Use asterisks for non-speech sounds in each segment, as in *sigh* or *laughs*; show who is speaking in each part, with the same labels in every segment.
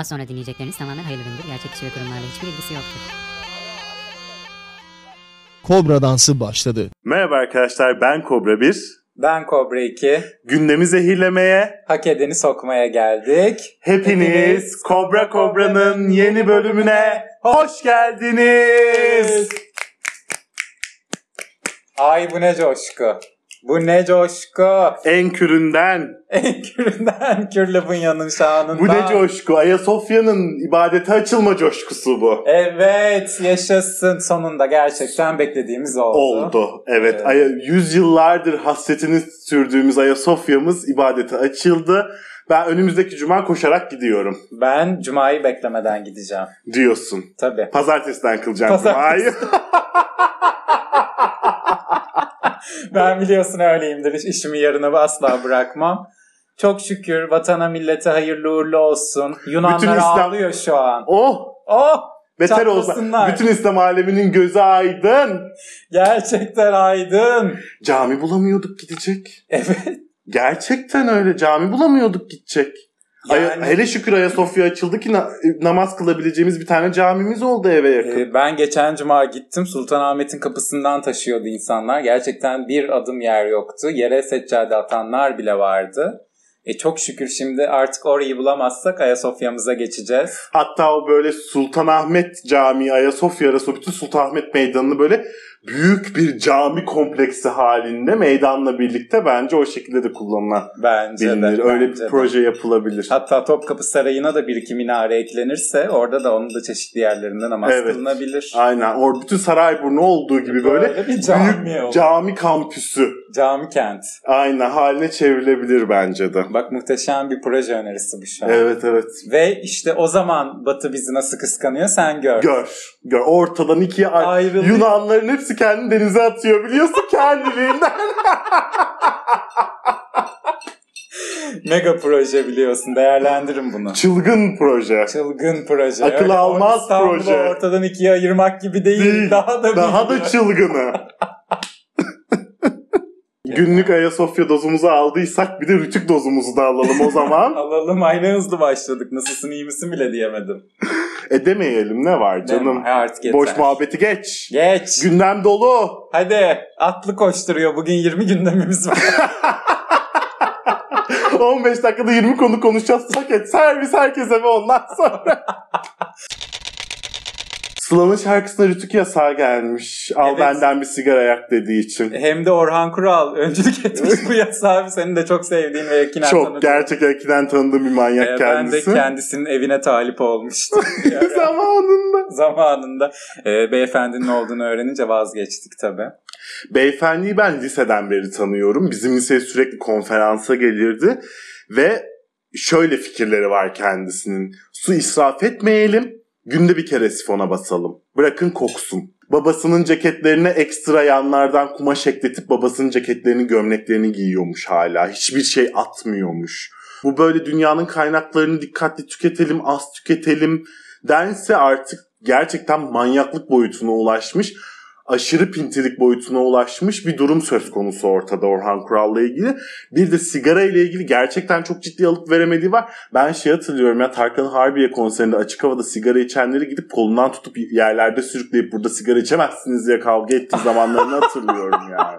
Speaker 1: Az sonra dinleyecekleriniz tamamen hayırlı gündür. Gerçek kişi ve kurumlarla hiçbir ilgisi yoktur.
Speaker 2: Kobra dansı başladı.
Speaker 3: Merhaba arkadaşlar ben Kobra 1.
Speaker 4: Ben Kobra 2.
Speaker 3: Gündemi zehirlemeye
Speaker 4: Hak edeni sokmaya geldik.
Speaker 3: hepiniz Kobra Kobra'nın yeni bölümüne hoş geldiniz.
Speaker 4: Ay bu ne coşku. Bu ne coşku. *laughs*
Speaker 3: En küründen.
Speaker 4: En küründen kürle bunyanın şanından.
Speaker 3: Bu ne coşku? Ayasofya'nın ibadete açılma coşkusu bu.
Speaker 4: Evet yaşasın. Sonunda gerçekten beklediğimiz oldu.
Speaker 3: Oldu. Evet.
Speaker 4: Evet.
Speaker 3: Ay- yüzyıllardır hasretini sürdüğümüz Ayasofya'mız ibadete açıldı. Ben önümüzdeki cuma koşarak gidiyorum
Speaker 4: Ben Cuma'yı beklemeden gideceğim.
Speaker 3: diyorsun.
Speaker 4: Tabii.
Speaker 3: Pazartesiden kılacağım
Speaker 4: Pazartesi.
Speaker 3: cumayı. *laughs*
Speaker 4: Ben biliyorsun öyleyimdir. Hiç İşimi yarına asla bırakmam. Çok şükür vatana millete hayırlı uğurlu olsun. Yunanlar
Speaker 3: İslam-
Speaker 4: ağlıyor şu an.
Speaker 3: Oh!
Speaker 4: Oh!
Speaker 3: Beter olsa.
Speaker 4: Çatlasınlar.
Speaker 3: Bütün İslam aleminin gözü aydın.
Speaker 4: Gerçekten aydın.
Speaker 3: Cami bulamıyorduk gidecek.
Speaker 4: Evet.
Speaker 3: Gerçekten öyle cami bulamıyorduk gidecek. Ay-
Speaker 4: Yani-
Speaker 3: hele şükür Ayasofya açıldı ki na- e, namaz kılabileceğimiz bir tane camimiz oldu eve yakın.
Speaker 4: Ee, Ben geçen cuma gittim. Sultanahmet'in kapısından taşıyordu insanlar. Gerçekten bir adım yer yoktu. Yere seccade atanlar bile vardı. E çok şükür şimdi artık orayı bulamazsak Ayasofya'mıza geçeceğiz.
Speaker 3: Hatta o böyle Sultanahmet Camii, Ayasofya arası o bütün Sultanahmet Meydanı'nı böyle büyük bir cami kompleksi halinde meydanla birlikte bence o şekilde de kullanılabilir.
Speaker 4: Bence de.
Speaker 3: Öyle
Speaker 4: bence
Speaker 3: bir
Speaker 4: de.
Speaker 3: proje yapılabilir.
Speaker 4: Hatta Topkapı Sarayı'na da bir iki minare eklenirse orada da onun da çeşitli yerlerinden namaz
Speaker 3: Evet.
Speaker 4: kılınabilir.
Speaker 3: Aynen. Or bütün Sarayburnu olduğu gibi böyle
Speaker 4: bir cami,
Speaker 3: büyük
Speaker 4: oldu.
Speaker 3: cami kampüsü.
Speaker 4: cami kent.
Speaker 3: Aynen haline çevrilebilir bence de.
Speaker 4: Bak muhteşem bir proje önerisi bu şu an.
Speaker 3: Evet evet.
Speaker 4: Ve işte o zaman Batı bizi nasıl kıskanıyor sen gör.
Speaker 3: Gör. Gör. Ortadan ikiye ay-
Speaker 4: Ayrılıyor.
Speaker 3: Yunanların hepsi kendini denize atıyor biliyorsun kendiliğinden.
Speaker 4: Mega proje biliyorsun. Değerlendirin bunu.
Speaker 3: *laughs* Çılgın proje.
Speaker 4: Çılgın proje.
Speaker 3: Akıl
Speaker 4: Öyle
Speaker 3: almaz
Speaker 4: İstanbul'u
Speaker 3: proje.
Speaker 4: ortadan ikiye ayırmak gibi değil.
Speaker 3: Değil.
Speaker 4: Daha da
Speaker 3: Daha da
Speaker 4: büyük.
Speaker 3: çılgını. *laughs* Günlük Ayasofya dozumuzu aldıysak bir de rütük dozumuzu da alalım o *laughs* zaman.
Speaker 4: Alalım aynı hızlı başladık. Nasılsın iyi misin bile diyemedim.
Speaker 3: e demeyelim ne var canım.
Speaker 4: Deme, artık yeter.
Speaker 3: Boş muhabbeti geç.
Speaker 4: Geç.
Speaker 3: Gündem dolu.
Speaker 4: Hadi atlı koşturuyor. Bugün 20 gündemimiz var.
Speaker 3: 15 dakikada 20 konu konuşacağız. Paket servis herkese ve ondan sonra. *laughs* Sıla'nın şarkısına rütük yasağı gelmiş. Al
Speaker 4: Evet.
Speaker 3: benden bir sigara yak dediği için.
Speaker 4: *laughs* Hem de Orhan Kural öncülük etmiş bu yasağı. Senin de çok sevdiğin ve yakinen tanıdığın.
Speaker 3: Çok gerçekten ekiden tanıdığım bir manyak
Speaker 4: Ee, Ben de
Speaker 3: kendisi.
Speaker 4: kendisinin evine talip olmuştum. *laughs*
Speaker 3: *laughs* Zamanında.
Speaker 4: zamanında e, beyefendinin olduğunu öğrenince vazgeçtik tabi.
Speaker 3: Beyefendiyi ben liseden beri tanıyorum. Bizim liseye sürekli konferansa gelirdi. Ve şöyle fikirleri var kendisinin. Su israf etmeyelim. Günde bir kere sifona basalım. Bırakın koksun. Babasının ceketlerine ekstra yanlardan kumaş ekletip babasının ceketlerinin gömleklerini giyiyormuş hala. Hiçbir şey atmıyormuş. Bu böyle dünyanın kaynaklarını dikkatli tüketelim, az tüketelim dense artık gerçekten manyaklık boyutuna ulaşmış aşırı pintilik boyutuna ulaşmış bir durum söz konusu ortada Orhan Kural'la ilgili. Bir de sigara ile ilgili gerçekten çok ciddi alıp veremediği var. Ben şey hatırlıyorum ya Tarkan Harbiye konserinde açık havada sigara içenleri gidip kolundan tutup yerlerde sürükleyip burada sigara içemezsiniz diye kavga ettiği zamanlarını hatırlıyorum yani.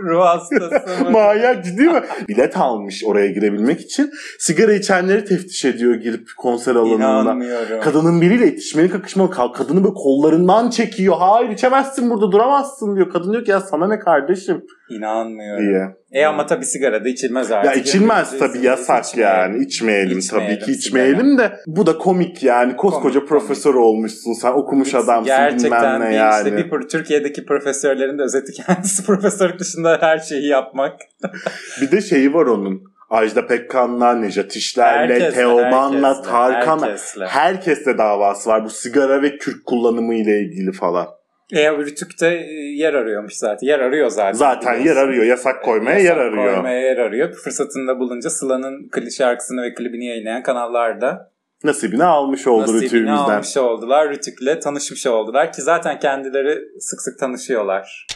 Speaker 4: Ruh hastası mı?
Speaker 3: Manyak ciddi mi? Bilet almış oraya girebilmek için. Sigara içenleri teftiş ediyor girip konser alanında.
Speaker 4: İnanmıyorum.
Speaker 3: Kadının biriyle itişmeli kakışmalı kal. Kadını böyle kollarından çekiyor. Hayır içemezsin burada duramazsın diyor. Kadın diyor ki ya sana ne kardeşim
Speaker 4: İnanmıyorum.
Speaker 3: diye.
Speaker 4: E ama tabi sigara da içilmez artık.
Speaker 3: Ya içilmez
Speaker 4: Biz-
Speaker 3: tabii
Speaker 4: biz
Speaker 3: yasak
Speaker 4: içmeyelim.
Speaker 3: yani. İçmeyelim,
Speaker 4: İçmeyelim
Speaker 3: tabii ki
Speaker 4: sigara.
Speaker 3: içmeyelim de. Bu da komik yani. Koskoca
Speaker 4: Komik,
Speaker 3: profesör olmuşsun sen. Okumuş adamsın
Speaker 4: Gerçekten
Speaker 3: bilmem ne
Speaker 4: bir,
Speaker 3: yani.
Speaker 4: işte bir pro- Türkiye'deki profesörlerin de özeti kendisi *laughs* profesörlük dışında her şeyi yapmak.
Speaker 3: Bir de şeyi var onun. Ajda Pekkan'la, Nejat İşler'le,
Speaker 4: Herkesle,
Speaker 3: Teoman'la,
Speaker 4: herkesle,
Speaker 3: Tarkan'la.
Speaker 4: herkesle.
Speaker 3: Herkesle davası var bu sigara ve kürk kullanımı ile ilgili falan.
Speaker 4: E Rütük'te e, yer arıyormuş zaten. Yer arıyor zaten.
Speaker 3: Zaten yer
Speaker 4: biliyorsun.
Speaker 3: arıyor. Yasak koymaya
Speaker 4: Yasak
Speaker 3: yer arıyor.
Speaker 4: Koymaya yer arıyor. Fırsatında bulunca Sıla'nın kli- şarkısını ve klibini yayınlayan kanallarda
Speaker 3: Nasibini almış oldu
Speaker 4: nasibini
Speaker 3: rütüğümüzden.
Speaker 4: almış oldular. Rütük'le tanışmış oldular ki zaten kendileri sık sık tanışıyorlar.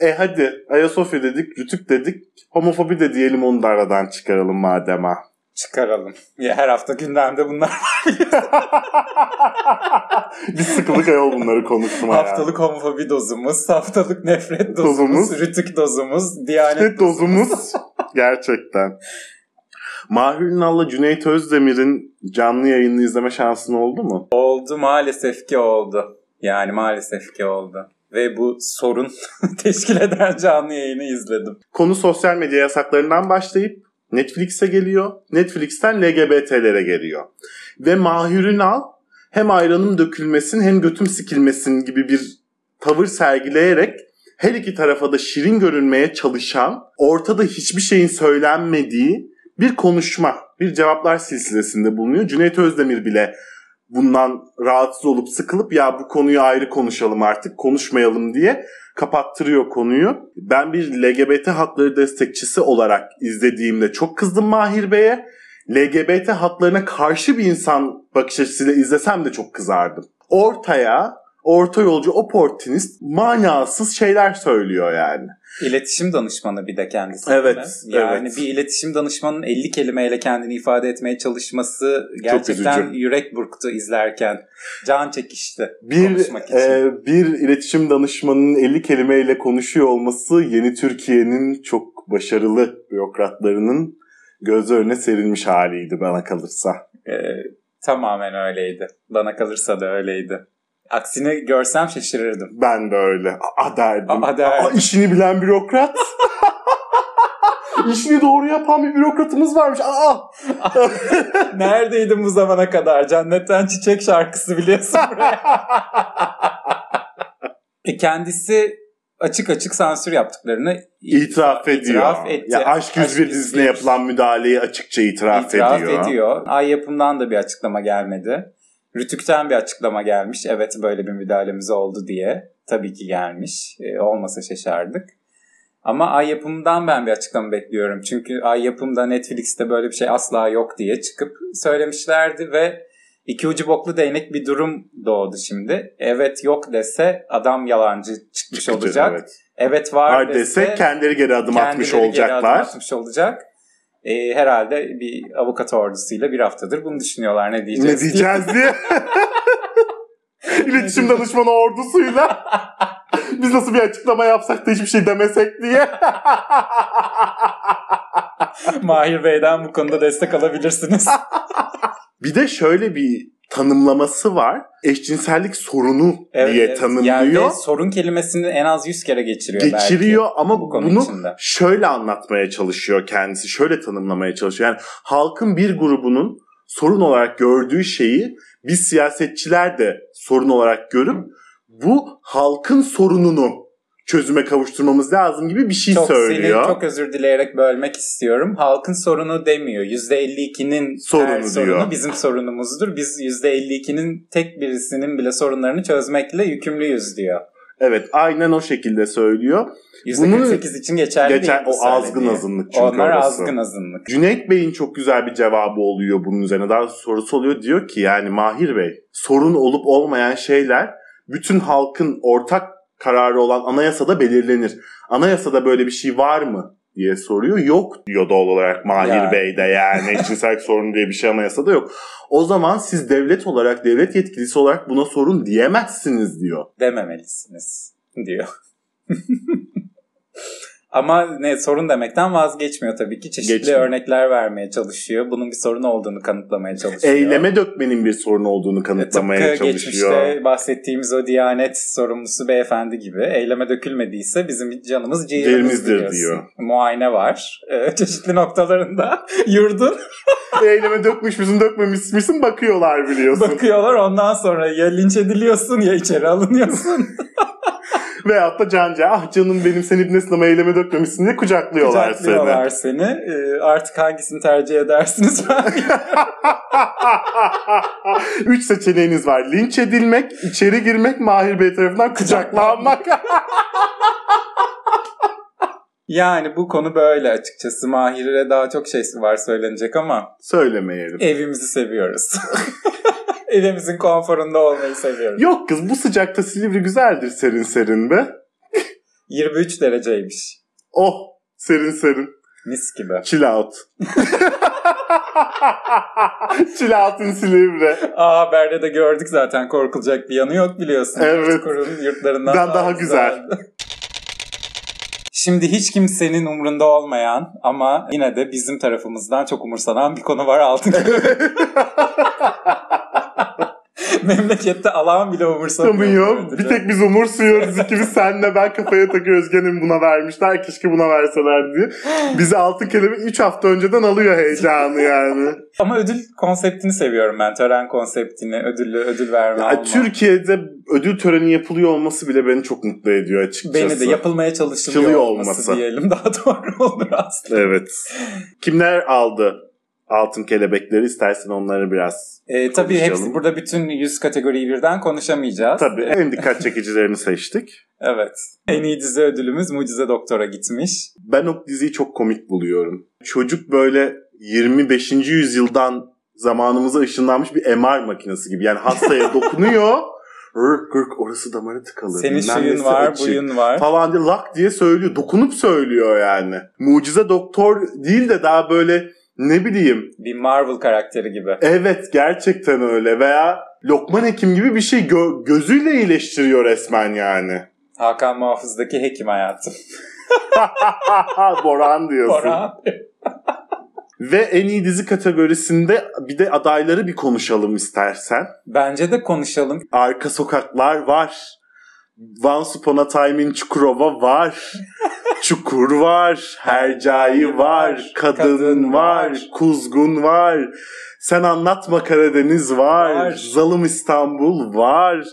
Speaker 3: E hadi Ayasofya dedik, Rütük dedik, homofobi de diyelim onu da aradan çıkaralım madem ha. *laughs*
Speaker 4: Çıkaralım. Ya her hafta gündemde bunlar
Speaker 3: Biz sıkıldık ayol bunları konuşmaya.
Speaker 4: haftalık homofobi dozumuz, haftalık nefret dozumuz,
Speaker 3: Dozumuz.
Speaker 4: rütük dozumuz, diyanet
Speaker 3: İşte
Speaker 4: dozumuz. *laughs*
Speaker 3: dozumuz gerçekten. Mahir Ünal'la Cüneyt Özdemir'in canlı yayınını izleme şansın oldu mu?
Speaker 4: Oldu maalesef ki oldu. Yani maalesef ki oldu. Ve bu sorun *laughs* teşkil eden canlı yayını izledim.
Speaker 3: Konu sosyal medya yasaklarından başlayıp Netflix'e geliyor. Netflix'ten LGBT'lere geliyor. Ve Mahir Ünal hem ayranım dökülmesin hem götüm sikilmesin gibi bir tavır sergileyerek her iki tarafa da şirin görünmeye çalışan, ortada hiçbir şeyin söylenmediği bir konuşma, bir cevaplar silsilesinde bulunuyor. Cüneyt Özdemir bile bundan rahatsız olup sıkılıp ya bu konuyu ayrı konuşalım artık konuşmayalım diye kapattırıyor konuyu. Ben bir LGBT hakları destekçisi olarak izlediğimde çok kızdım Mahir Bey'e. LGBT haklarına karşı bir insan bakış açısıyla izlesem de çok kızardım. Ortaya orta yolcu oportunist manasız şeyler söylüyor yani.
Speaker 4: İletişim danışmanı bir de kendisi.
Speaker 3: Evet,
Speaker 4: değil mi? Yani
Speaker 3: evet.
Speaker 4: bir iletişim danışmanının 50 kelimeyle kendini ifade etmeye çalışması gerçekten
Speaker 3: üzücü.
Speaker 4: yürek burktu izlerken. Can çekişti
Speaker 3: Bir
Speaker 4: konuşmak için.
Speaker 3: e, bir iletişim danışmanının 50 kelimeyle konuşuyor olması yeni Türkiye'nin çok başarılı bürokratlarının gözü önüne serilmiş haliydi bana kalırsa.
Speaker 4: Ee, tamamen öyleydi. Bana kalırsa da öyleydi. Aksini
Speaker 3: *laughs*
Speaker 4: görsem şaşırırdım.
Speaker 3: Ben de öyle. Aa derdim.
Speaker 4: Aa, derdim.
Speaker 3: Aa, işini bilen
Speaker 4: *laughs*
Speaker 3: bürokrat. işini doğru yapan bir bürokratımız varmış. Aa.
Speaker 4: *laughs* Neredeydin bu zamana kadar? Cennetten Çiçek
Speaker 3: *laughs*
Speaker 4: şarkısı biliyorsun buraya. E, Kendisi açık açık sansür yaptıklarını
Speaker 3: İtiraf ediyor.
Speaker 4: İtiraf etti.
Speaker 3: Ya Aşk 101
Speaker 4: Aşk
Speaker 3: dizisine
Speaker 4: 101.
Speaker 3: yapılan müdahaleyi açıkça itiraf,
Speaker 4: itiraf
Speaker 3: ediyor.
Speaker 4: ediyor. Ay yapımdan da bir açıklama gelmedi. Rütük'ten bir açıklama gelmiş. Evet böyle bir müdahalemiz oldu diye. Tabii ki gelmiş. E, olmasa şaşardık. Ama Ay yapımdan ben bir açıklama bekliyorum. Çünkü Ay yapımda Netflix'te böyle bir şey asla yok diye çıkıp söylemişlerdi ve iki ucu boklu değnek bir durum doğdu şimdi. Evet yok dese adam yalancı çıkmış
Speaker 3: Çıkıcı,
Speaker 4: olacak. Evet,
Speaker 3: evet.
Speaker 4: var,
Speaker 3: Var
Speaker 4: dese,
Speaker 3: dese kendileri geri adım atmış
Speaker 4: kendileri geri adım
Speaker 3: olacaklar.
Speaker 4: atmış olacak. Ee, herhalde bir avukat ordusuyla bir haftadır bunu düşünüyorlar ne diyeceğiz.
Speaker 3: Ne diyeceğiz diye. *laughs* İletişim danışmanı
Speaker 4: *laughs*
Speaker 3: ordusuyla. Biz nasıl bir açıklama yapsak da hiçbir şey demesek diye.
Speaker 4: *laughs*
Speaker 3: *laughs*
Speaker 4: Mahir Bey'den bu konuda
Speaker 3: *laughs*
Speaker 4: destek alabilirsiniz.
Speaker 3: Bir de şöyle bir tanımlaması var. Eşcinsellik sorunu
Speaker 4: Evet,
Speaker 3: diye
Speaker 4: evet.
Speaker 3: tanımlıyor.
Speaker 4: Yani ve sorun kelimesini en az 100 kere geçiriyor, belki.
Speaker 3: geçiriyor ama
Speaker 4: bu konu
Speaker 3: bunu
Speaker 4: içinde.
Speaker 3: şöyle anlatmaya çalışıyor kendisi. Şöyle tanımlamaya çalışıyor. Yani halkın bir grubunun sorun olarak gördüğü şeyi biz siyasetçiler de sorun olarak görüp bu halkın sorununu çözüme kavuşturmamız lazım gibi bir şey
Speaker 4: Çok
Speaker 3: söylüyor.
Speaker 4: seni çok özür dileyerek bölmek istiyorum. Halkın sorunu demiyor. %52'nin
Speaker 3: Sorunu
Speaker 4: her sorunu
Speaker 3: diyor.
Speaker 4: bizim sorunumuzdur. Biz %52'nin tek birisinin bile sorunlarını çözmekle yükümlüyüz diyor.
Speaker 3: Evet, aynen o şekilde söylüyor.
Speaker 4: %48 için geçerli
Speaker 3: Geçen
Speaker 4: değil bu
Speaker 3: o azgın
Speaker 4: söylediği.
Speaker 3: azınlık çünkü
Speaker 4: Onlar
Speaker 3: orası.
Speaker 4: azgın azınlık.
Speaker 3: Cüneyt Bey'in çok güzel bir cevabı oluyor bunun üzerine. Daha doğrusu sorusu oluyor. Diyor ki yani Mahir Bey sorun olup olmayan şeyler bütün halkın ortak kararı olan anayasada belirlenir. Anayasada böyle bir şey var mı? diye soruyor. Yok diyor doğal olarak Mahir
Speaker 4: Yani.
Speaker 3: Bey'de
Speaker 4: *laughs*
Speaker 3: yani eşcinsellik sorunu diye bir şey anayasada yok. O zaman siz devlet olarak, devlet yetkilisi olarak buna sorun diyemezsiniz diyor.
Speaker 4: dememelisiniz diyor. *laughs* Ama ne sorun demekten vazgeçmiyor tabii ki. Çeşitli
Speaker 3: Geçmiyor.
Speaker 4: örnekler vermeye çalışıyor. Bunun bir sorun olduğunu kanıtlamaya çalışıyor.
Speaker 3: Eyleme dökmenin bir sorun olduğunu kanıtlamaya
Speaker 4: E, Tıpkı
Speaker 3: çalışıyor.
Speaker 4: geçmişte bahsettiğimiz o Diyanet sorumlusu beyefendi gibi eyleme dökülmediyse bizim canımız ciğerimizdir
Speaker 3: Ciğerimizdir
Speaker 4: diyorsun.
Speaker 3: diyor.
Speaker 4: Muayene var. Ee, çeşitli noktalarında *laughs* yurdun
Speaker 3: Eyleme dökmüş müsün dökmemiş misin bakıyorlar biliyorsun.
Speaker 4: *laughs* bakıyorlar ondan sonra ya linç ediliyorsun ya içeri alınıyorsun.
Speaker 3: *laughs* Veyahut da canca ah canım benim sen İbn Sinema eyleme dökmemişsin diye kucaklıyorlar,
Speaker 4: Kucaklıyorlar seni. Ee, artık hangisini tercih edersiniz *laughs* ben
Speaker 3: seni. Üç seçeneğiniz var. Linç edilmek, içeri girmek, Mahir Bey tarafından kucaklanmak.
Speaker 4: Yani bu konu böyle açıkçası. Mahir'e daha çok şey var söylenecek ama
Speaker 3: *laughs* Söylemeyelim.
Speaker 4: evimizi seviyoruz. *laughs* Evimizin konforunda olmayı seviyoruz.
Speaker 3: Yok kız bu sıcakta Silivri güzeldir serin serin be.
Speaker 4: 23 dereceymiş.
Speaker 3: Oh serin serin.
Speaker 4: Mis gibi.
Speaker 3: Chill out. *laughs* Chill out in Silivri.
Speaker 4: Aa haberde de gördük zaten korkulacak bir yanı yok biliyorsun.
Speaker 3: Evet.
Speaker 4: Kurun yurtlarından
Speaker 3: Ben daha güzel.
Speaker 4: güzeldi. Şimdi hiç kimsenin umrunda olmayan ama yine de bizim tarafımızdan çok umursanan bir konu var altın.
Speaker 3: *laughs*
Speaker 4: Memlekette alan bile umursamıyor.
Speaker 3: Tamam
Speaker 4: bu
Speaker 3: yok.
Speaker 4: ödülü.
Speaker 3: Bir tek biz umursuyoruz. İkimiz senle ben kafaya takıyoruz. Gene mi buna vermişler. Keşke buna verseler diye. Bizi altın kelebek 3 hafta önceden alıyor heyecanı yani.
Speaker 4: Ama ödül konseptini seviyorum ben. Tören konseptini, ödüllü ödül verme
Speaker 3: Ya,
Speaker 4: alma.
Speaker 3: Türkiye'de ödül töreni yapılıyor olması bile beni çok mutlu ediyor açıkçası.
Speaker 4: Beni de yapılmaya çalışılıyor
Speaker 3: Çalışılıyor
Speaker 4: olması,
Speaker 3: olması.
Speaker 4: diyelim *laughs* daha doğru olur aslında.
Speaker 3: Evet. Kimler aldı altın kelebekleri? İstersen onları biraz.
Speaker 4: Ee, tabii
Speaker 3: Konuşalım.
Speaker 4: hepsi burada bütün 100 kategoriyi birden konuşamayacağız.
Speaker 3: Tabii en dikkat çekicilerini seçtik.
Speaker 4: Evet. En iyi dizi ödülümüz Mucize Doktor'a gitmiş.
Speaker 3: Ben o diziyi çok komik buluyorum. Çocuk böyle 25. yüzyıldan zamanımıza ışınlanmış bir MR makinesi gibi. Yani
Speaker 4: *laughs*
Speaker 3: hastaya dokunuyor. Rırk rırk orası damara tıkalı.
Speaker 4: Senin
Speaker 3: bilmem
Speaker 4: şuyun
Speaker 3: nesi
Speaker 4: var,
Speaker 3: açık
Speaker 4: buyun var.
Speaker 3: Falan diye lak diye söylüyor. Dokunup söylüyor yani. Mucize doktor değil de daha böyle ne bileyim.
Speaker 4: Bir Marvel karakteri gibi.
Speaker 3: Evet gerçekten öyle. Veya Lokman Hekim gibi bir şey gö- gözüyle iyileştiriyor resmen yani. *laughs*
Speaker 4: Hakan Muhafız'daki hekim hayatı.
Speaker 3: Boran diyorsun.
Speaker 4: Bora.
Speaker 3: Ve en iyi dizi kategorisinde bir de adayları bir konuşalım istersen.
Speaker 4: Bence de konuşalım.
Speaker 3: Arka Sokaklar var. Once Upon a Time in Çukurova *laughs* var. Çukur var. Hercai var. Kadın,
Speaker 4: Kadın
Speaker 3: var.
Speaker 4: var.
Speaker 3: Kuzgun var. Sen Anlatma Karadeniz var.
Speaker 4: Var.
Speaker 3: Zalım İstanbul var.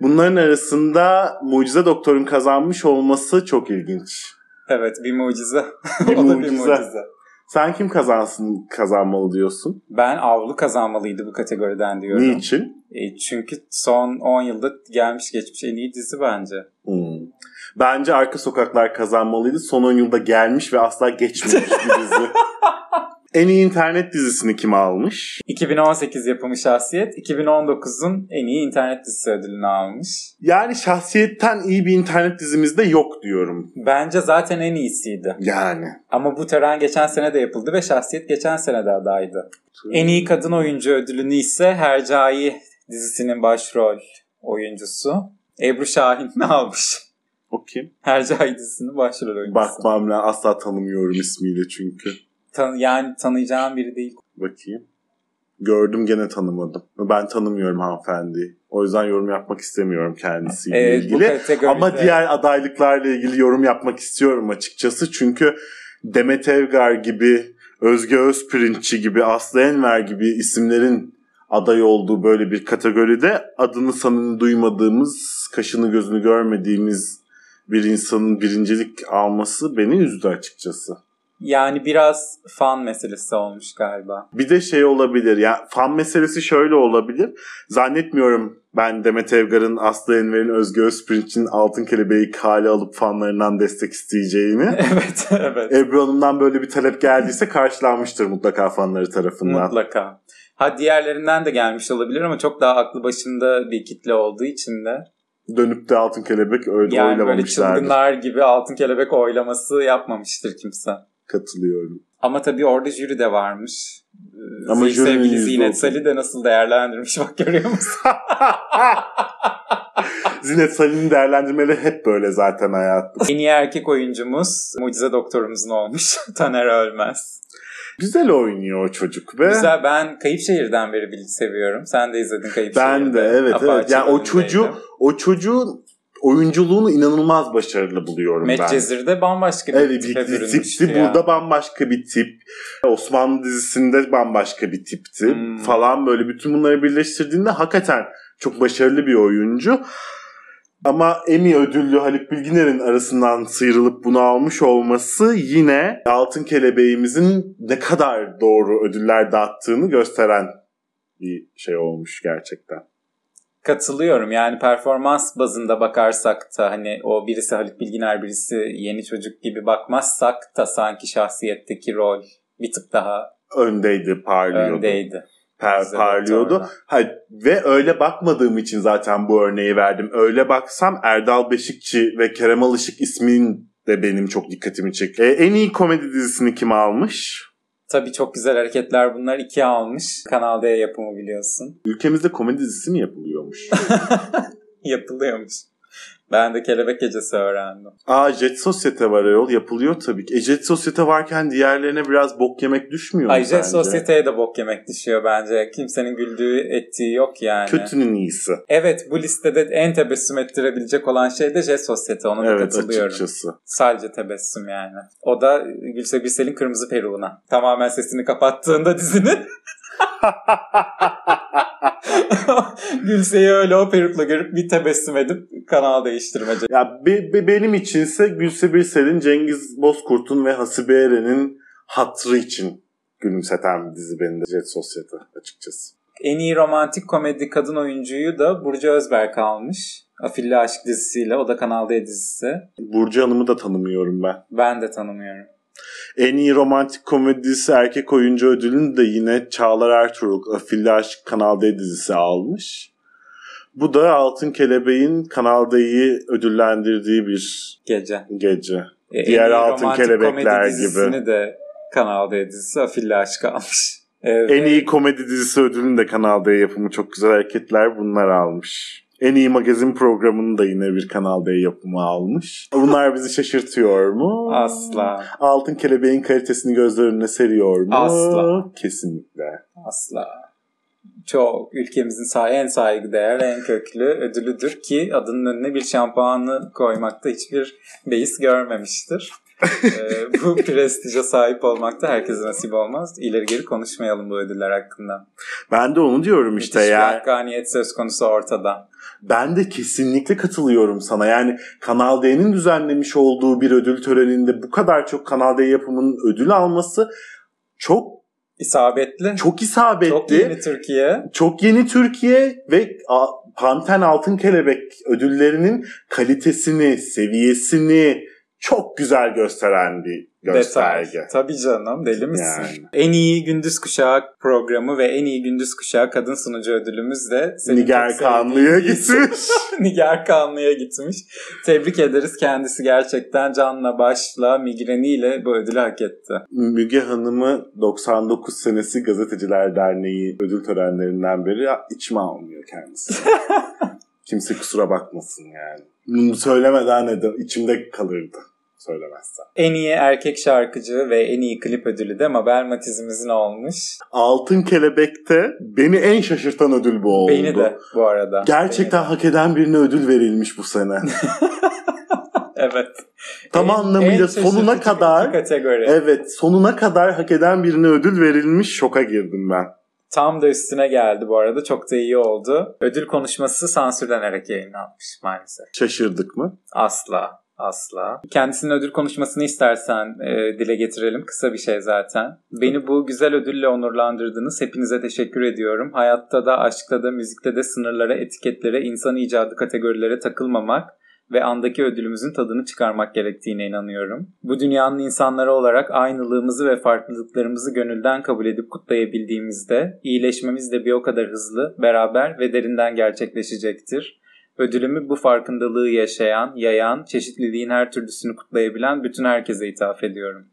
Speaker 3: Bunların arasında Mucize Doktor'un kazanmış olması çok ilginç. *laughs*
Speaker 4: Evet bir mucize. *laughs*
Speaker 3: Bir
Speaker 4: o da bir
Speaker 3: mucize.
Speaker 4: mucize.
Speaker 3: Sen kim kazansın kazanmalı diyorsun?
Speaker 4: Ben Avlu kazanmalıydı bu kategoriden diyorum.
Speaker 3: Niçin?
Speaker 4: E, çünkü son 10 yılda gelmiş geçmiş en iyi dizi bence.
Speaker 3: Hmm. Bence Arka Sokaklar kazanmalıydı. Son 10 yılda gelmiş ve asla geçmemiş bir
Speaker 4: *laughs*
Speaker 3: dizi. en iyi internet dizisini kim almış?
Speaker 4: 2018 yapımı Şahsiyet 2019'un en iyi internet dizisi ödülünü almış.
Speaker 3: Yani şahsiyetten iyi bir internet dizimiz de yok diyorum.
Speaker 4: Bence zaten en iyisiydi.
Speaker 3: Yani.
Speaker 4: Ama bu tören geçen sene de yapıldı ve şahsiyet geçen sene de adaydı. En iyi kadın oyuncu ödülünü ise Hercai dizisinin başrol oyuncusu Ebru Şahin *laughs* almış.
Speaker 3: Okey.
Speaker 4: Hercai dizisinin başrol oyuncusu.
Speaker 3: Bakmam lazım. Asla tanımıyorum ismiyle çünkü.
Speaker 4: Tan- yani tanıyacağım biri değil.
Speaker 3: Bakayım. Gördüm gene tanımadım. Ben tanımıyorum hanımefendiyi. O yüzden yorum yapmak istemiyorum kendisiyle
Speaker 4: Evet, Ee, bu
Speaker 3: ilgili.
Speaker 4: kategoride-
Speaker 3: Ama diğer adaylıklarla ilgili yorum yapmak istiyorum açıkçası. Çünkü Demet Evgar gibi, Özge Özpirinççi gibi, Aslı Enver gibi isimlerin aday olduğu böyle bir kategoride adını sanını duymadığımız, kaşını gözünü görmediğimiz bir insanın birincilik alması beni üzdü açıkçası.
Speaker 4: Yani biraz fan meselesi olmuş galiba. *laughs*
Speaker 3: Bir de şey olabilir ya fan meselesi şöyle olabilir. Zannetmiyorum ben Demet Evgar'ın, Aslı Enver'in, Özge Özpirinç'in Altın Kelebeği kale alıp fanlarından destek
Speaker 4: *laughs*
Speaker 3: isteyeceğini.
Speaker 4: evet, evet.
Speaker 3: Ebru Hanım'dan böyle bir talep geldiyse karşılanmıştır mutlaka fanları tarafından.
Speaker 4: Mutlaka. Ha diğerlerinden de gelmiş olabilir ama çok daha aklı başında bir kitle olduğu için de.
Speaker 3: Dönüp de Altın Kelebek öyle
Speaker 4: Yani böyle
Speaker 3: oylamamışlardır.
Speaker 4: çılgınlar gibi altın kelebek oylaması yapmamıştır kimse.
Speaker 3: Katılıyorum.
Speaker 4: Ama tabii orada jüri de varmış.
Speaker 3: Ama
Speaker 4: Ama
Speaker 3: jürinin
Speaker 4: sevgili
Speaker 3: yüzü
Speaker 4: Zinet
Speaker 3: olsun.
Speaker 4: Salih de nasıl değerlendirmiş bak
Speaker 3: *laughs*
Speaker 4: görüyor musun?
Speaker 3: Zinet Salih'in değerlendirmeleri hep böyle zaten hayatta.
Speaker 4: en iyi erkek oyuncumuz Mucize Doktorumuzun olmuş *laughs* Taner Ölmez.
Speaker 3: Güzel oynuyor o çocuk be.
Speaker 4: Güzel ben Kayıpşehir'den beri Bilic'i seviyorum. Sen de izledin Kayıpşehir'de.
Speaker 3: Ben de evet evet.
Speaker 4: Apache
Speaker 3: Yani o
Speaker 4: önündeydi.
Speaker 3: çocuğu o çocuğun oyunculuğunu inanılmaz başarılı buluyorum
Speaker 4: Matt
Speaker 3: ben.
Speaker 4: Cezir'de bambaşka bir
Speaker 3: Evet bir,
Speaker 4: tipe
Speaker 3: bir
Speaker 4: bürünmüştü
Speaker 3: tipti.
Speaker 4: ya.
Speaker 3: Burada bambaşka bir tip. Osmanlı dizisinde bambaşka bir tipti.
Speaker 4: Hmm.
Speaker 3: Falan böyle bütün bunları birleştirdiğinde hakikaten çok başarılı bir oyuncu. Ama Emmy ödüllü Haluk Bilginer'in arasından sıyrılıp bunu almış olması yine Altın Kelebeğimizin ne kadar doğru ödüller dağıttığını gösteren bir şey olmuş gerçekten.
Speaker 4: Katılıyorum yani performans bazında bakarsak da hani o birisi Haluk Bilginer birisi yeni çocuk gibi bakmazsak da sanki şahsiyetteki rol bir tık daha
Speaker 3: Öndeydi, parlıyordu.
Speaker 4: öndeydi.
Speaker 3: par-
Speaker 4: Bize de
Speaker 3: parlıyordu.
Speaker 4: orada.
Speaker 3: Ha, ve öyle bakmadığım için zaten bu örneği verdim. Öyle baksam Erdal Beşikçi ve Kerem Alışık ismin de benim çok dikkatimi çekiyor. E, en iyi komedi dizisini kim almış?
Speaker 4: Tabii çok güzel hareketler bunlar. iki almış. Kanal D yapımı biliyorsun. *laughs*
Speaker 3: Ülkemizde komedi dizisi mi yapılıyormuş?
Speaker 4: Yapılıyormuş. Ben de kelebek gecesi öğrendim.
Speaker 3: Aa Jet Sosyete var ayol yapılıyor tabii ki. E, Jet Sosyete varken diğerlerine biraz bok yemek düşmüyor mu
Speaker 4: Ay Jet
Speaker 3: sence?
Speaker 4: Sosyete'ye de bok yemek düşüyor bence. Kimsenin güldüğü ettiği yok yani.
Speaker 3: Kötünün iyisi.
Speaker 4: Evet bu listede en tebessüm ettirebilecek olan şey de Jet Sosyete. Ona da
Speaker 3: Evet
Speaker 4: katılıyorum.
Speaker 3: açıkçası.
Speaker 4: Sadece tebessüm yani. O da Gülse Birsel'in kırmızı peruğuna. Tamamen sesini kapattığında *laughs* dizinin. Gülse'yi öyle o perukla görüp bir tebessüm edip kanal değiştirmece.
Speaker 3: Ya be- be- benim içinse Gülse Birsel'in, Cengiz Bozkurt'un ve Hasibe Eren'in hatırı için gülümseten bir dizi benim de Jet Sosyete açıkçası.
Speaker 4: En iyi romantik komedi kadın oyuncuyu da Burcu Özberk almış. Afilli Aşk dizisiyle. O da Kanal D dizisi.
Speaker 3: Burcu Hanım'ı da tanımıyorum ben.
Speaker 4: Ben de tanımıyorum.
Speaker 3: En iyi romantik komedisi erkek oyuncu ödülünü de yine Çağlar Ertuğrul Afilli Aşk Kanal D dizisi almış. Bu da Altın Kelebeğin Kanal D'yi ödüllendirdiği bir
Speaker 4: Gece.
Speaker 3: gece.
Speaker 4: E, en
Speaker 3: Diğer
Speaker 4: iyi
Speaker 3: Altın
Speaker 4: romantik
Speaker 3: Kelebekler
Speaker 4: komedi
Speaker 3: gibi.
Speaker 4: dizisini de Kanal D dizisi Afilli Aşk almış. Evet.
Speaker 3: En iyi komedi dizisi ödülünü de Kanal D yapımı çok güzel hareketler bunlar almış. En iyi magazin programını da yine bir Kanal D yapımı almış. Bunlar bizi şaşırtıyor mu?
Speaker 4: Asla.
Speaker 3: Altın Kelebeğin kalitesini gözler önüne seriyor mu?
Speaker 4: Asla.
Speaker 3: Kesinlikle.
Speaker 4: Asla. Çok ülkemizin say en saygıdeğer, en köklü ödülüdür ki adının önüne bir şampuanı koymakta hiçbir
Speaker 3: *laughs*
Speaker 4: beis görmemiştir. Ee, bu prestije sahip olmakta herkese nasip olmaz. İleri geri konuşmayalım bu ödüller hakkında.
Speaker 3: Ben de onu diyorum işte
Speaker 4: Müthiş bir
Speaker 3: ya.
Speaker 4: hakkaniyet söz konusu ortada.
Speaker 3: Ben de kesinlikle katılıyorum sana. Yani Kanal D'nin düzenlemiş olduğu bir ödül töreninde bu kadar çok Kanal D yapımının ödül alması çok
Speaker 4: İsabetli.
Speaker 3: çok isabetli.
Speaker 4: Çok yeni Türkiye.
Speaker 3: Çok yeni Türkiye ve A- Panten Altın Kelebek ödüllerinin kalitesini, seviyesini çok güzel gösteren bir gösterge.
Speaker 4: Detay. Tabii canım deli misin?
Speaker 3: Yani.
Speaker 4: En iyi gündüz kuşağı programı ve en iyi gündüz kuşağı kadın sunucu ödülümüz de senin
Speaker 3: Niger
Speaker 4: çok sevdiğin
Speaker 3: Kanlı'ya
Speaker 4: bir şey. isim. *laughs*
Speaker 3: gitmiş.
Speaker 4: Niger Kanlı'ya gitmiş. Tebrik ederiz kendisi gerçekten canla başla migreniyle bu ödülü hak etti.
Speaker 3: Müge Hanım'ı 99 senesi Gazeteciler Derneği ödül törenlerinden beri içime almıyor kendisi.
Speaker 4: *laughs*
Speaker 3: Kimse kusura bakmasın yani. Bunu söylemeden edem, içimde kalırdı söylemezsem.
Speaker 4: En iyi erkek şarkıcı ve en iyi klip ödülü de Mabel Matiz'imizin olmuş.
Speaker 3: Altın Kelebek'te beni en şaşırtan ödül bu oldu.
Speaker 4: Beni de bu arada.
Speaker 3: Gerçekten hak eden birine ödül verilmiş bu
Speaker 4: *laughs*
Speaker 3: sene.
Speaker 4: Beni de. Evet.
Speaker 3: Tam
Speaker 4: En-
Speaker 3: anlamıyla
Speaker 4: en
Speaker 3: sonuna
Speaker 4: şaşırtıcı
Speaker 3: kadar-
Speaker 4: iki kategori.
Speaker 3: evet, sonuna kadar hak eden birine ödül verilmiş şoka girdim ben.
Speaker 4: Tam da üstüne geldi bu arada. Çok da iyi oldu. Ödül konuşması sansürlenerek yayınlanmış maalesef.
Speaker 3: Şaşırdık mı?
Speaker 4: Asla. Asla. Kendisinin ödül konuşmasını istersen e, dile getirelim. Kısa bir şey zaten. Beni bu güzel ödülle onurlandırdınız. Hepinize teşekkür ediyorum. Hayatta da, aşkta da, müzikte de sınırlara, etiketlere, insan icadı kategorilere takılmamak ve andaki ödülümüzün tadını çıkarmak gerektiğine inanıyorum. Bu dünyanın insanları olarak aynılığımızı ve farklılıklarımızı gönülden kabul edip kutlayabildiğimizde iyileşmemiz de bir o kadar hızlı, beraber ve derinden gerçekleşecektir. Ödülümü bu farkındalığı yaşayan, yayan, çeşitliliğin her türlüsünü kutlayabilen bütün herkese ithaf ediyorum.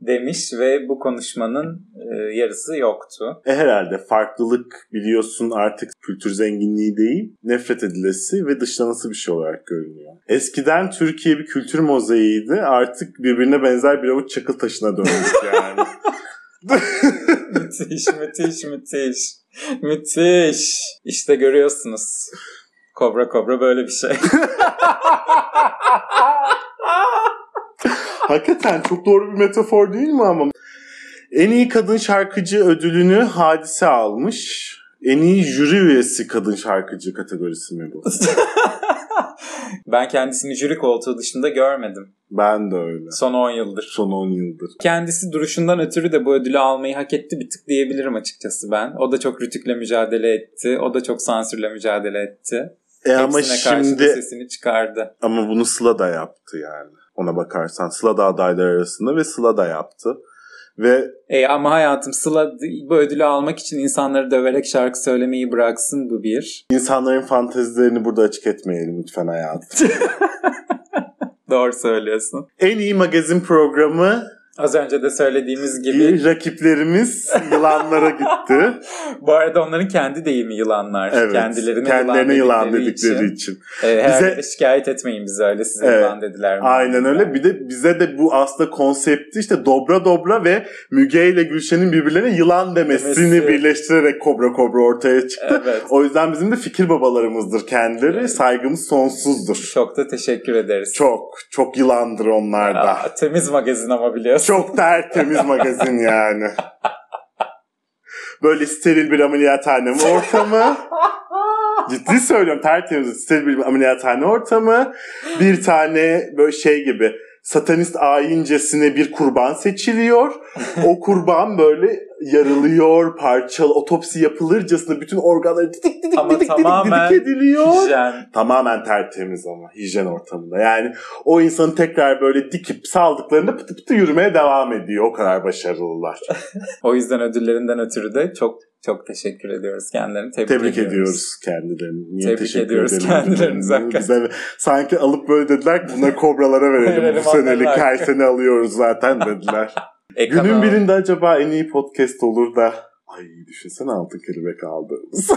Speaker 4: demiş ve bu konuşmanın e, yarısı yoktu. *laughs*
Speaker 3: E herhalde farklılık biliyorsun artık kültür zenginliği değil, nefret edilesi ve dışlanası bir şey olarak görünüyor. Eskiden Türkiye bir kültür mozaiğiydi, artık birbirine benzer bir avuç çakıl taşına dönmüş yani.
Speaker 4: *laughs* müthiş, müthiş, müthiş. Müthiş. İşte görüyorsunuz. Kobra kobra böyle bir şey. *laughs*
Speaker 3: Hakikaten çok doğru bir metafor değil mi ama? En iyi kadın şarkıcı ödülünü Hadise almış. En iyi jüri üyesi kadın şarkıcı kategorisi mi bu?
Speaker 4: ben kendisini jüri koltuğu dışında görmedim.
Speaker 3: Ben de öyle.
Speaker 4: Son 10 yıldır.
Speaker 3: Son 10 yıldır.
Speaker 4: Kendisi duruşundan ötürü de bu ödülü almayı hak etti bir tık diyebilirim açıkçası ben. O da çok rütükle mücadele etti. O da çok sansürle mücadele etti.
Speaker 3: E ama
Speaker 4: Hepsine karşı da
Speaker 3: şimdi
Speaker 4: sesini çıkardı.
Speaker 3: ama bunu Sıla da yaptı yani. Ona bakarsan Sıla da adaylar arasında ve Sıla da yaptı. Ve
Speaker 4: E ama hayatım Sıla bu ödülü almak için insanları döverek şarkı söylemeyi bıraksın bu bir.
Speaker 3: insanların fantezilerini burada açık etmeyelim lütfen hayatım.
Speaker 4: Doğru söylüyorsun.
Speaker 3: en iyi magazin programı
Speaker 4: Az önce de söylediğimiz gibi
Speaker 3: rakiplerimiz yılanlara gitti.
Speaker 4: bu arada onların kendi deyimi yılanlar.
Speaker 3: Evet.
Speaker 4: Kendilerine,
Speaker 3: kendilerine
Speaker 4: yılan,
Speaker 3: yılan dedikleri için.
Speaker 4: E,
Speaker 3: Bize-
Speaker 4: bize... şikayet etmeyin bize öyle size
Speaker 3: Evet.
Speaker 4: yılan dediler. mi?
Speaker 3: Aynen öyle. Bir de bize de bu aslında konsepti işte Dobra Dobra ve Müge ile Gülşen'in birbirlerine yılan demesini
Speaker 4: Demesi.
Speaker 3: birleştirerek Kobra Kobra ortaya çıktı.
Speaker 4: Evet.
Speaker 3: O yüzden bizim de fikir babalarımızdır kendileri. Saygımız sonsuzdur.
Speaker 4: Çok da teşekkür ederiz.
Speaker 3: Çok, çok yılandır onlar da.
Speaker 4: Aa, Ah, temiz magazin
Speaker 3: *laughs*
Speaker 4: ama biliyorsun.
Speaker 3: Çok tertemiz magazin yani. Böyle steril bir ameliyathane mi ortamı. Ciddi söylüyorum tertemiz steril bir ameliyathane ortamı. Bir tane böyle şey gibi satanist ayincesine bir kurban seçiliyor. O kurban böyle yarılıyor, parçalı, otopsi yapılırcasına bütün organları didik didik
Speaker 4: Ama
Speaker 3: didik didik,
Speaker 4: tamamen
Speaker 3: didik ediliyor
Speaker 4: Hijyen.
Speaker 3: tamamen tertemiz ama hijyen ortamında. Yani o insanı tekrar böyle dikip saldıklarında pıtı pıtı yürümeye devam ediyor. O kadar başarılılar.
Speaker 4: O yüzden ödüllerinden ötürü de çok çok teşekkür ediyoruz kendilerini. Tebrik,
Speaker 3: Tebrik ediyoruz kendilerini. Niye
Speaker 4: Tebrik
Speaker 3: teşekkür
Speaker 4: ediyoruz
Speaker 3: edelim
Speaker 4: kendilerini
Speaker 3: dedim.
Speaker 4: zaten.
Speaker 3: Bize sanki alıp böyle dediler ki bunları kobralara verelim,
Speaker 4: Verelim
Speaker 3: bu senelik
Speaker 4: onlara."
Speaker 3: her sene alıyoruz zaten
Speaker 4: *laughs*
Speaker 3: dediler.
Speaker 4: Ekrana-
Speaker 3: Günün birinde acaba en iyi podcast olur da ay düşünsene altın kelebek aldığımız.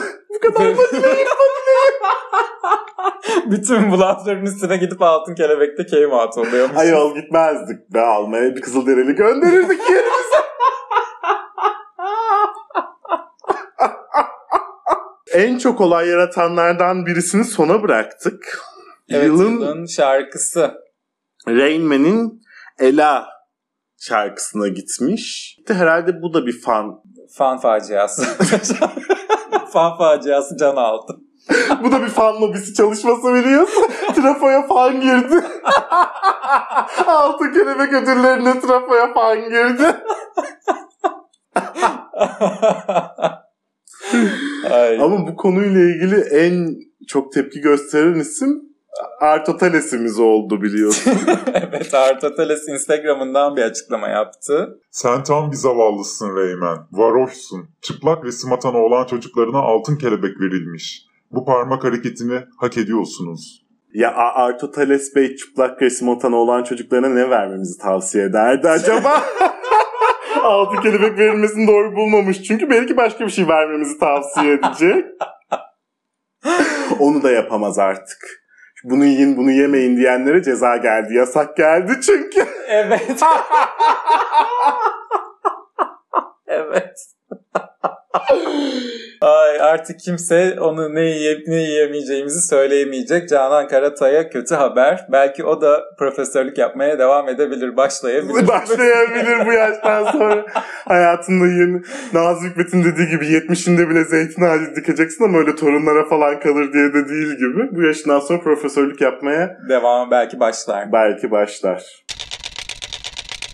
Speaker 4: *laughs* Bütün bu lafların üstüne gidip altın kelebekte keymat oluyormuş.
Speaker 3: Ayol gitmezdik be almaya bir kızılderili gönderirdik yerimize. en çok olay yaratanlardan birisini sona bıraktık.
Speaker 4: evet,
Speaker 3: yılın,
Speaker 4: yılın... şarkısı.
Speaker 3: Rain Man'in Ela şarkısına gitmiş. Herhalde bu da bir fan. *laughs*
Speaker 4: Fan faciası. *laughs* Fan faciası can aldı.
Speaker 3: bu da bir fan lobisi çalışması biliyorsun. *laughs* trafoya fan girdi. *laughs* Altı kelebek ödüllerine trafoya fan girdi.
Speaker 4: Ay.
Speaker 3: Ama bu konuyla ilgili en çok tepki gösteren isim Artoteles'imiz oldu biliyorsun.
Speaker 4: *laughs* evet Artateles Instagram'ından bir açıklama yaptı.
Speaker 5: Sen tam bir zavallısın Reymen. Varoşsun. Çıplak resim atan oğlan çocuklarına altın kelebek verilmiş. Bu parmak hareketini hak ediyorsunuz.
Speaker 3: ya A- Artoteles Bey çıplak resim atan olan çocuklarına ne vermemizi tavsiye ederdi acaba? Altı kelebek verilmesini doğru bulmamış. Çünkü belki başka bir şey vermemizi tavsiye edecek. Onu da yapamaz artık. Bunu yiyin bunu yemeyin diyenlere ceza geldi. Yasak geldi çünkü.
Speaker 4: Evet. *laughs* evet. Ay artık kimse onu ne yiyip ne yiyemeyeceğimizi söyleyemeyecek. Canan Karatay'a kötü haber. Belki o da profesörlük yapmaya devam edebilir,
Speaker 3: *laughs*
Speaker 4: başlayabilir.
Speaker 3: Başlayabilir bu yaştan sonra. Hayatında yeni Nazım Hikmet'in dediği gibi 70'inde bile zeytin ağacı dikeceksin ama öyle torunlara falan kalır diye de değil gibi. Bu yaşından sonra profesörlük yapmaya
Speaker 4: Devam belki başlar.
Speaker 3: belki başlar.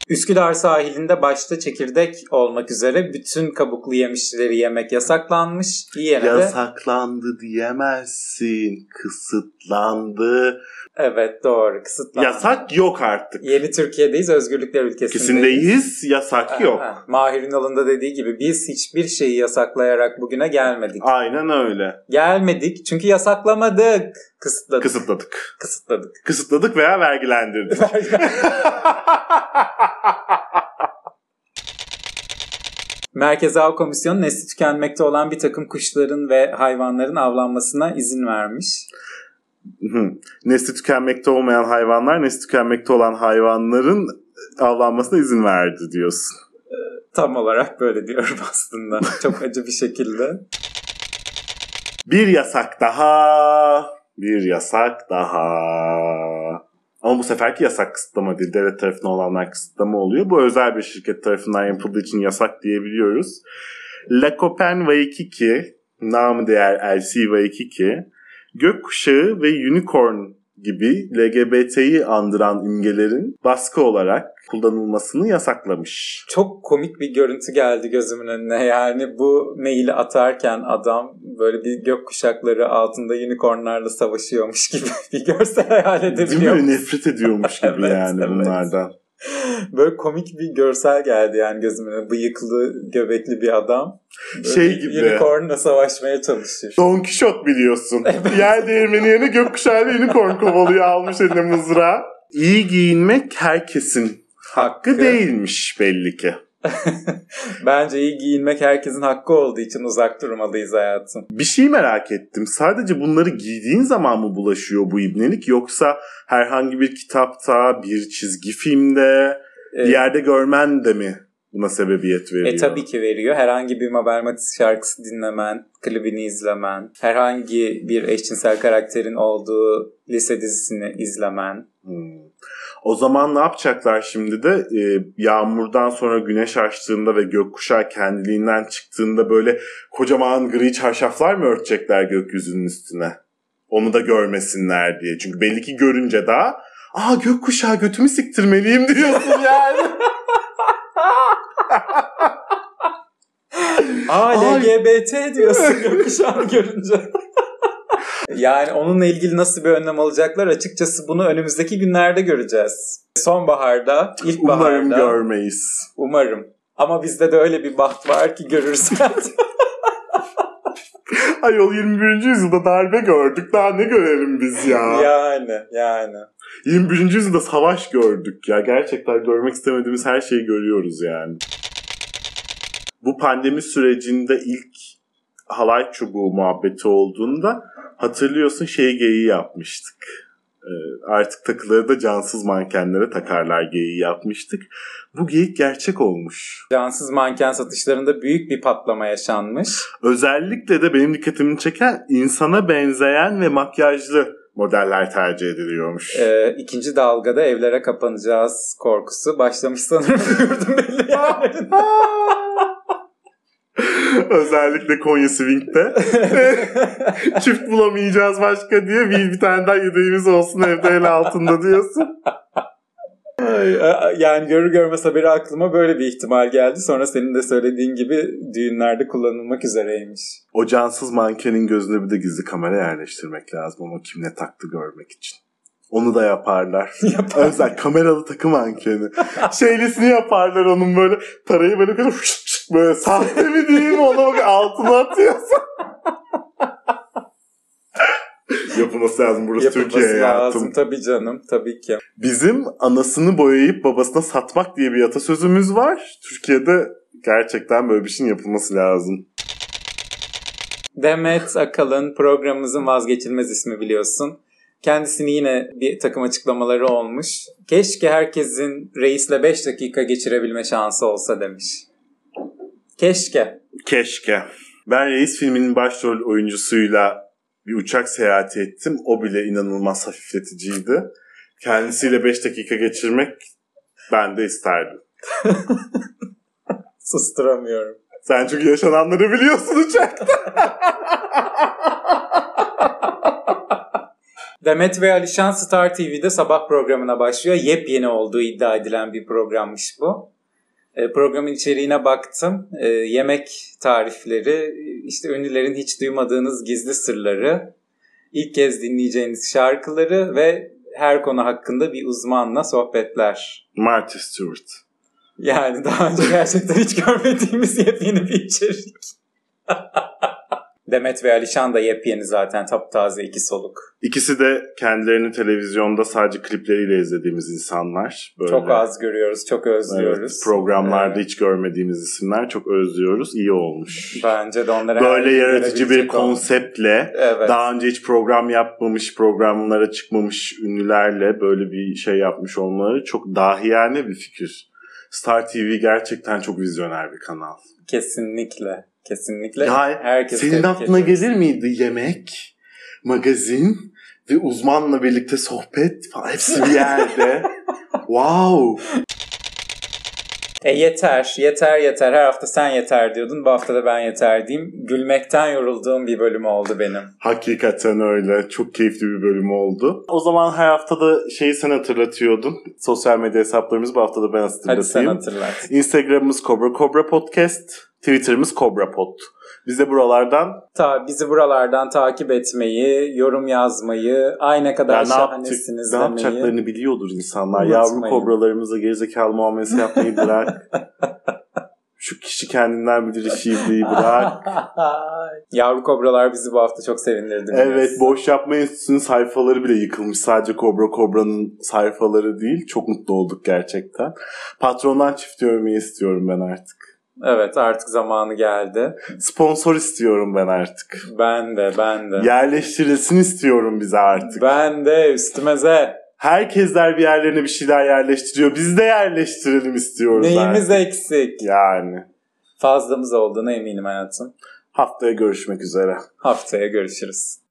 Speaker 4: Üsküdar sahilinde başta çekirdek olmak üzere bütün kabuklu yemişleri yemek yasaklanmış. Yine de
Speaker 3: Yasaklandı diyemezsin. Kısıtlandı.
Speaker 4: evet doğru kısıtlanmış.
Speaker 3: Yasak yok artık.
Speaker 4: Yeni Türkiye'deyiz, özgürlükler ülkesindeyiz.
Speaker 3: İkisindeyiz. Yasak yok.
Speaker 4: Ha, Mahir'in alında dediği gibi biz hiçbir şeyi yasaklayarak bugüne gelmedik.
Speaker 3: Aynen öyle.
Speaker 4: Gelmedik çünkü yasaklamadık. Kısıtladık.
Speaker 3: Kısıtladık.
Speaker 4: Kısıtladık. *laughs*
Speaker 3: Kısıtladık veya vergilendirdik. *laughs*
Speaker 4: Merkez Av Komisyonu nesli tükenmekte olan bir takım kuşların ve hayvanların avlanmasına izin vermiş.
Speaker 3: Hı. Nesli tükenmekte olmayan hayvanlar, nesli tükenmekte olan hayvanların avlanmasına izin verdi diyorsun.
Speaker 4: Tam olarak böyle diyorum *laughs* aslında. Çok acı bir şekilde.
Speaker 3: Bir yasak daha, bir yasak daha. Ama bu seferki yasak kısıtlama değil, devlet tarafından olanlar kısıtlama oluyor. Bu özel bir şirket tarafından yapıldığı için yasak diyebiliyoruz. La Copen Waikiki, namı değer LC Waikiki, gökkuşağı ve unicorn gibi LGBT'yi andıran imgelerin baskı olarak kullanılmasını yasaklamış.
Speaker 4: Çok komik bir görüntü geldi gözümün önüne. Yani bu maili atarken adam böyle bir gökkuşakları altında unicornlarla savaşıyormuş gibi *laughs* bir görsel hayal
Speaker 3: Değil
Speaker 4: edebiliyor.
Speaker 3: mi? Nefret ediyormuş gibi
Speaker 4: *laughs* Evet,
Speaker 3: yani
Speaker 4: evet.
Speaker 3: bunlardan.
Speaker 4: Böyle komik bir görsel geldi yani gözüme. Bıyıklı, göbekli bir adam. Böyle
Speaker 3: Şey gibi.
Speaker 4: Unicorn'la savaşmaya çalışır.
Speaker 3: Don Kişot
Speaker 4: *laughs*
Speaker 3: biliyorsun. Yer değirmeni yerine gökkuşağıyla unicorn kovalıyor almış eline mızrağı. İyi giyinmek herkesin hakkı,
Speaker 4: Hakkı.
Speaker 3: değilmiş belli ki.
Speaker 4: Bence iyi giyinmek herkesin hakkı olduğu için uzak durmalıyız hayatım.
Speaker 3: Bir şey merak ettim. Sadece bunları giydiğin zaman mı bulaşıyor bu ibnelik yoksa herhangi bir kitapta, bir çizgi filmde,
Speaker 4: Ee,
Speaker 3: bir yerde görmen de mi buna sebebiyet veriyor?
Speaker 4: E tabii ki veriyor. Herhangi bir Mabel Matiz şarkısı dinlemen, klibini izlemen, herhangi bir eşcinsel karakterin olduğu lise dizisini izlemen.
Speaker 3: Hmm. O zaman ne yapacaklar şimdi de Ee, yağmurdan sonra güneş açtığında ve gökkuşağı kendiliğinden çıktığında böyle kocaman gri çarşaflar mı örtecekler gökyüzünün üstüne? Onu da görmesinler diye. Çünkü belli ki görünce daha aa gökkuşağı götümü siktirmeliyim *laughs* diyorsun yani.
Speaker 4: Aa
Speaker 3: Ay.
Speaker 4: LGBT diyorsun gökkuşağını görünce. *laughs* yani onunla ilgili nasıl bir önlem alacaklar açıkçası bunu önümüzdeki günlerde göreceğiz. Sonbaharda, ilkbaharda.
Speaker 3: Umarım görmeyiz.
Speaker 4: Umarım. Ama bizde de öyle bir baht var ki
Speaker 3: *laughs*
Speaker 4: görürsen.
Speaker 3: Ayol 21. yüzyılda darbe gördük. Daha ne görelim biz ya?
Speaker 4: *laughs* yani, yani.
Speaker 3: 21. yüzyılda savaş gördük ya. Gerçekten görmek istemediğimiz her şeyi görüyoruz yani. Bu pandemi sürecinde ilk halay çubuğu muhabbeti olduğunda hatırlıyorsun şey geyiği yapmıştık. Ee, Artık takıları da cansız mankenlere takarlar geyiği yapmıştık. Bu geyik gerçek olmuş.
Speaker 4: Cansız manken satışlarında büyük bir patlama yaşanmış.
Speaker 3: Özellikle de benim dikkatimi çeken insana benzeyen ve makyajlı modeller tercih ediliyormuş.
Speaker 4: Ee, ikinci dalgada evlere kapanacağız korkusu başlamış sanırım *laughs* gördüm belli yerlerinde.
Speaker 3: *laughs* Özellikle Konya *laughs* Swing'de. Çift bulamayacağız başka diye bir, bir tane daha yedeğimiz olsun evde el altında diyorsun.
Speaker 4: Ay, a- Ee, yani görür görmez haberi aklıma böyle bir ihtimal geldi. Sonra senin de söylediğin gibi düğünlerde kullanılmak üzereymiş.
Speaker 3: O cansız mankenin gözüne bir de gizli kamera yerleştirmek lazım ama kim ne taktı görmek için. Onu da *laughs* yaparlar.
Speaker 4: Yapar.
Speaker 3: Özel kameralı takı mankeni. Şeylisini yaparlar onun böyle parayı böyle böyle, böyle sahte mi diyeyim ona bak altına *laughs* atıyorsun. Yapılması lazım burası
Speaker 4: Yapılması
Speaker 3: Türkiye hayatım.
Speaker 4: lazım tabii canım tabii ki.
Speaker 3: Bizim anasını boyayıp babasına satmak diye bir atasözümüz var. Türkiye'de gerçekten böyle bir şeyin yapılması lazım.
Speaker 4: Demet Akalın programımızın vazgeçilmez ismi biliyorsun. Kendisini yine bir takım açıklamaları olmuş. Keşke herkesin reisle 5 dakika geçirebilme şansı olsa demiş. Keşke.
Speaker 3: Keşke. Ben Reis filminin başrol oyuncusuyla bir uçak seyahati ettim. O bile inanılmaz hafifleticiydi. Kendisiyle 5 dakika geçirmek ben de isterdim.
Speaker 4: Susturamıyorum.
Speaker 3: Sen çünkü yaşananları biliyorsun uçakta.
Speaker 4: Demet ve Alişan Star TV'de sabah programına başlıyor. Yepyeni olduğu iddia edilen bir programmış bu. E, programın içeriğine baktım. E, yemek tarifleri, işte ünlülerin hiç duymadığınız gizli sırları, ilk kez dinleyeceğiniz şarkıları ve her konu hakkında bir uzmanla sohbetler.
Speaker 3: Marty Stewart.
Speaker 4: Yani daha önce gerçekten hiç görmediğimiz yepyeni bir içerik. *laughs* Demet ve Alişan da yepyeni zaten taptaze iki soluk.
Speaker 3: İkisi de kendilerini televizyonda sadece klipleriyle izlediğimiz insanlar. Böyle.
Speaker 4: Çok az görüyoruz, çok özlüyoruz.
Speaker 3: Evet, programlarda
Speaker 4: Evet.
Speaker 3: hiç görmediğimiz isimler çok özlüyoruz. İyi olmuş.
Speaker 4: Bence de onlara
Speaker 3: Böyle yaratıcı bir
Speaker 4: verebilecek olan-
Speaker 3: konseptle
Speaker 4: Evet.
Speaker 3: daha önce hiç program yapmamış, programlara çıkmamış ünlülerle böyle bir şey yapmış olmaları çok dahiyane bir fikir. Star TV gerçekten çok vizyoner bir kanal.
Speaker 4: Kesinlikle. Kesinlikle.
Speaker 3: Ya,
Speaker 4: Herkes
Speaker 3: Senin
Speaker 4: tebrik
Speaker 3: aklına
Speaker 4: ediyoruz.
Speaker 3: gelir miydi yemek, magazin ve uzmanla birlikte sohbet falan hepsi bir
Speaker 4: *laughs*
Speaker 3: yerde. wow.
Speaker 4: E yeter, yeter, yeter. Her hafta sen yeter diyordun. Bu hafta da ben yeter diyeyim. Gülmekten yorulduğum bir bölüm oldu benim.
Speaker 3: Hakikaten öyle. Çok keyifli bir bölüm oldu. O zaman her hafta da şeyi sen hatırlatıyordun. Sosyal medya hesaplarımızı bu hafta da ben
Speaker 4: Hadi sen
Speaker 3: hatırlatayım.
Speaker 4: hatırlat.
Speaker 3: Instagram'ımız Cobra Cobra Podcast. Twitter'ımız KobraPod. Biz de buralardan
Speaker 4: Ta bizi buralardan takip etmeyi, yorum yazmayı, ay ne
Speaker 3: ya
Speaker 4: kadar
Speaker 3: ne, yaptık,
Speaker 4: şahanesiniz
Speaker 3: ne
Speaker 4: demeyi. *laughs*
Speaker 3: yapacaklarını biliyordur insanlar.
Speaker 4: Unutmayın.
Speaker 3: Yavru kobralarımıza gerizekalı muamelesi yapmayı
Speaker 4: *laughs*
Speaker 3: bırak. Şu kişi kendinden bilir işi bırak.
Speaker 4: Yavru kobralar bizi bu hafta çok sevindirdi.
Speaker 3: Evet Boş Yapma Enstitüsü'nün sayfaları bile yıkılmış. Sadece Kobra Kobra'nın sayfaları değil. Çok mutlu olduk gerçekten. Patrondan çift övmeyi istiyorum ben artık.
Speaker 4: Evet artık zamanı geldi.
Speaker 3: Sponsor istiyorum ben artık.
Speaker 4: Ben de ben de.
Speaker 3: Yerleştirilsin istiyorum bize artık.
Speaker 4: Ben de üstümeze.
Speaker 3: Herkesler bir yerlerine bir şeyler yerleştiriyor. Biz de yerleştirelim istiyoruz
Speaker 4: Neyimiz
Speaker 3: artık.
Speaker 4: eksik?
Speaker 3: Yani.
Speaker 4: Fazlamız olduğuna eminim hayatım.
Speaker 3: Haftaya görüşmek üzere.
Speaker 4: Haftaya görüşürüz.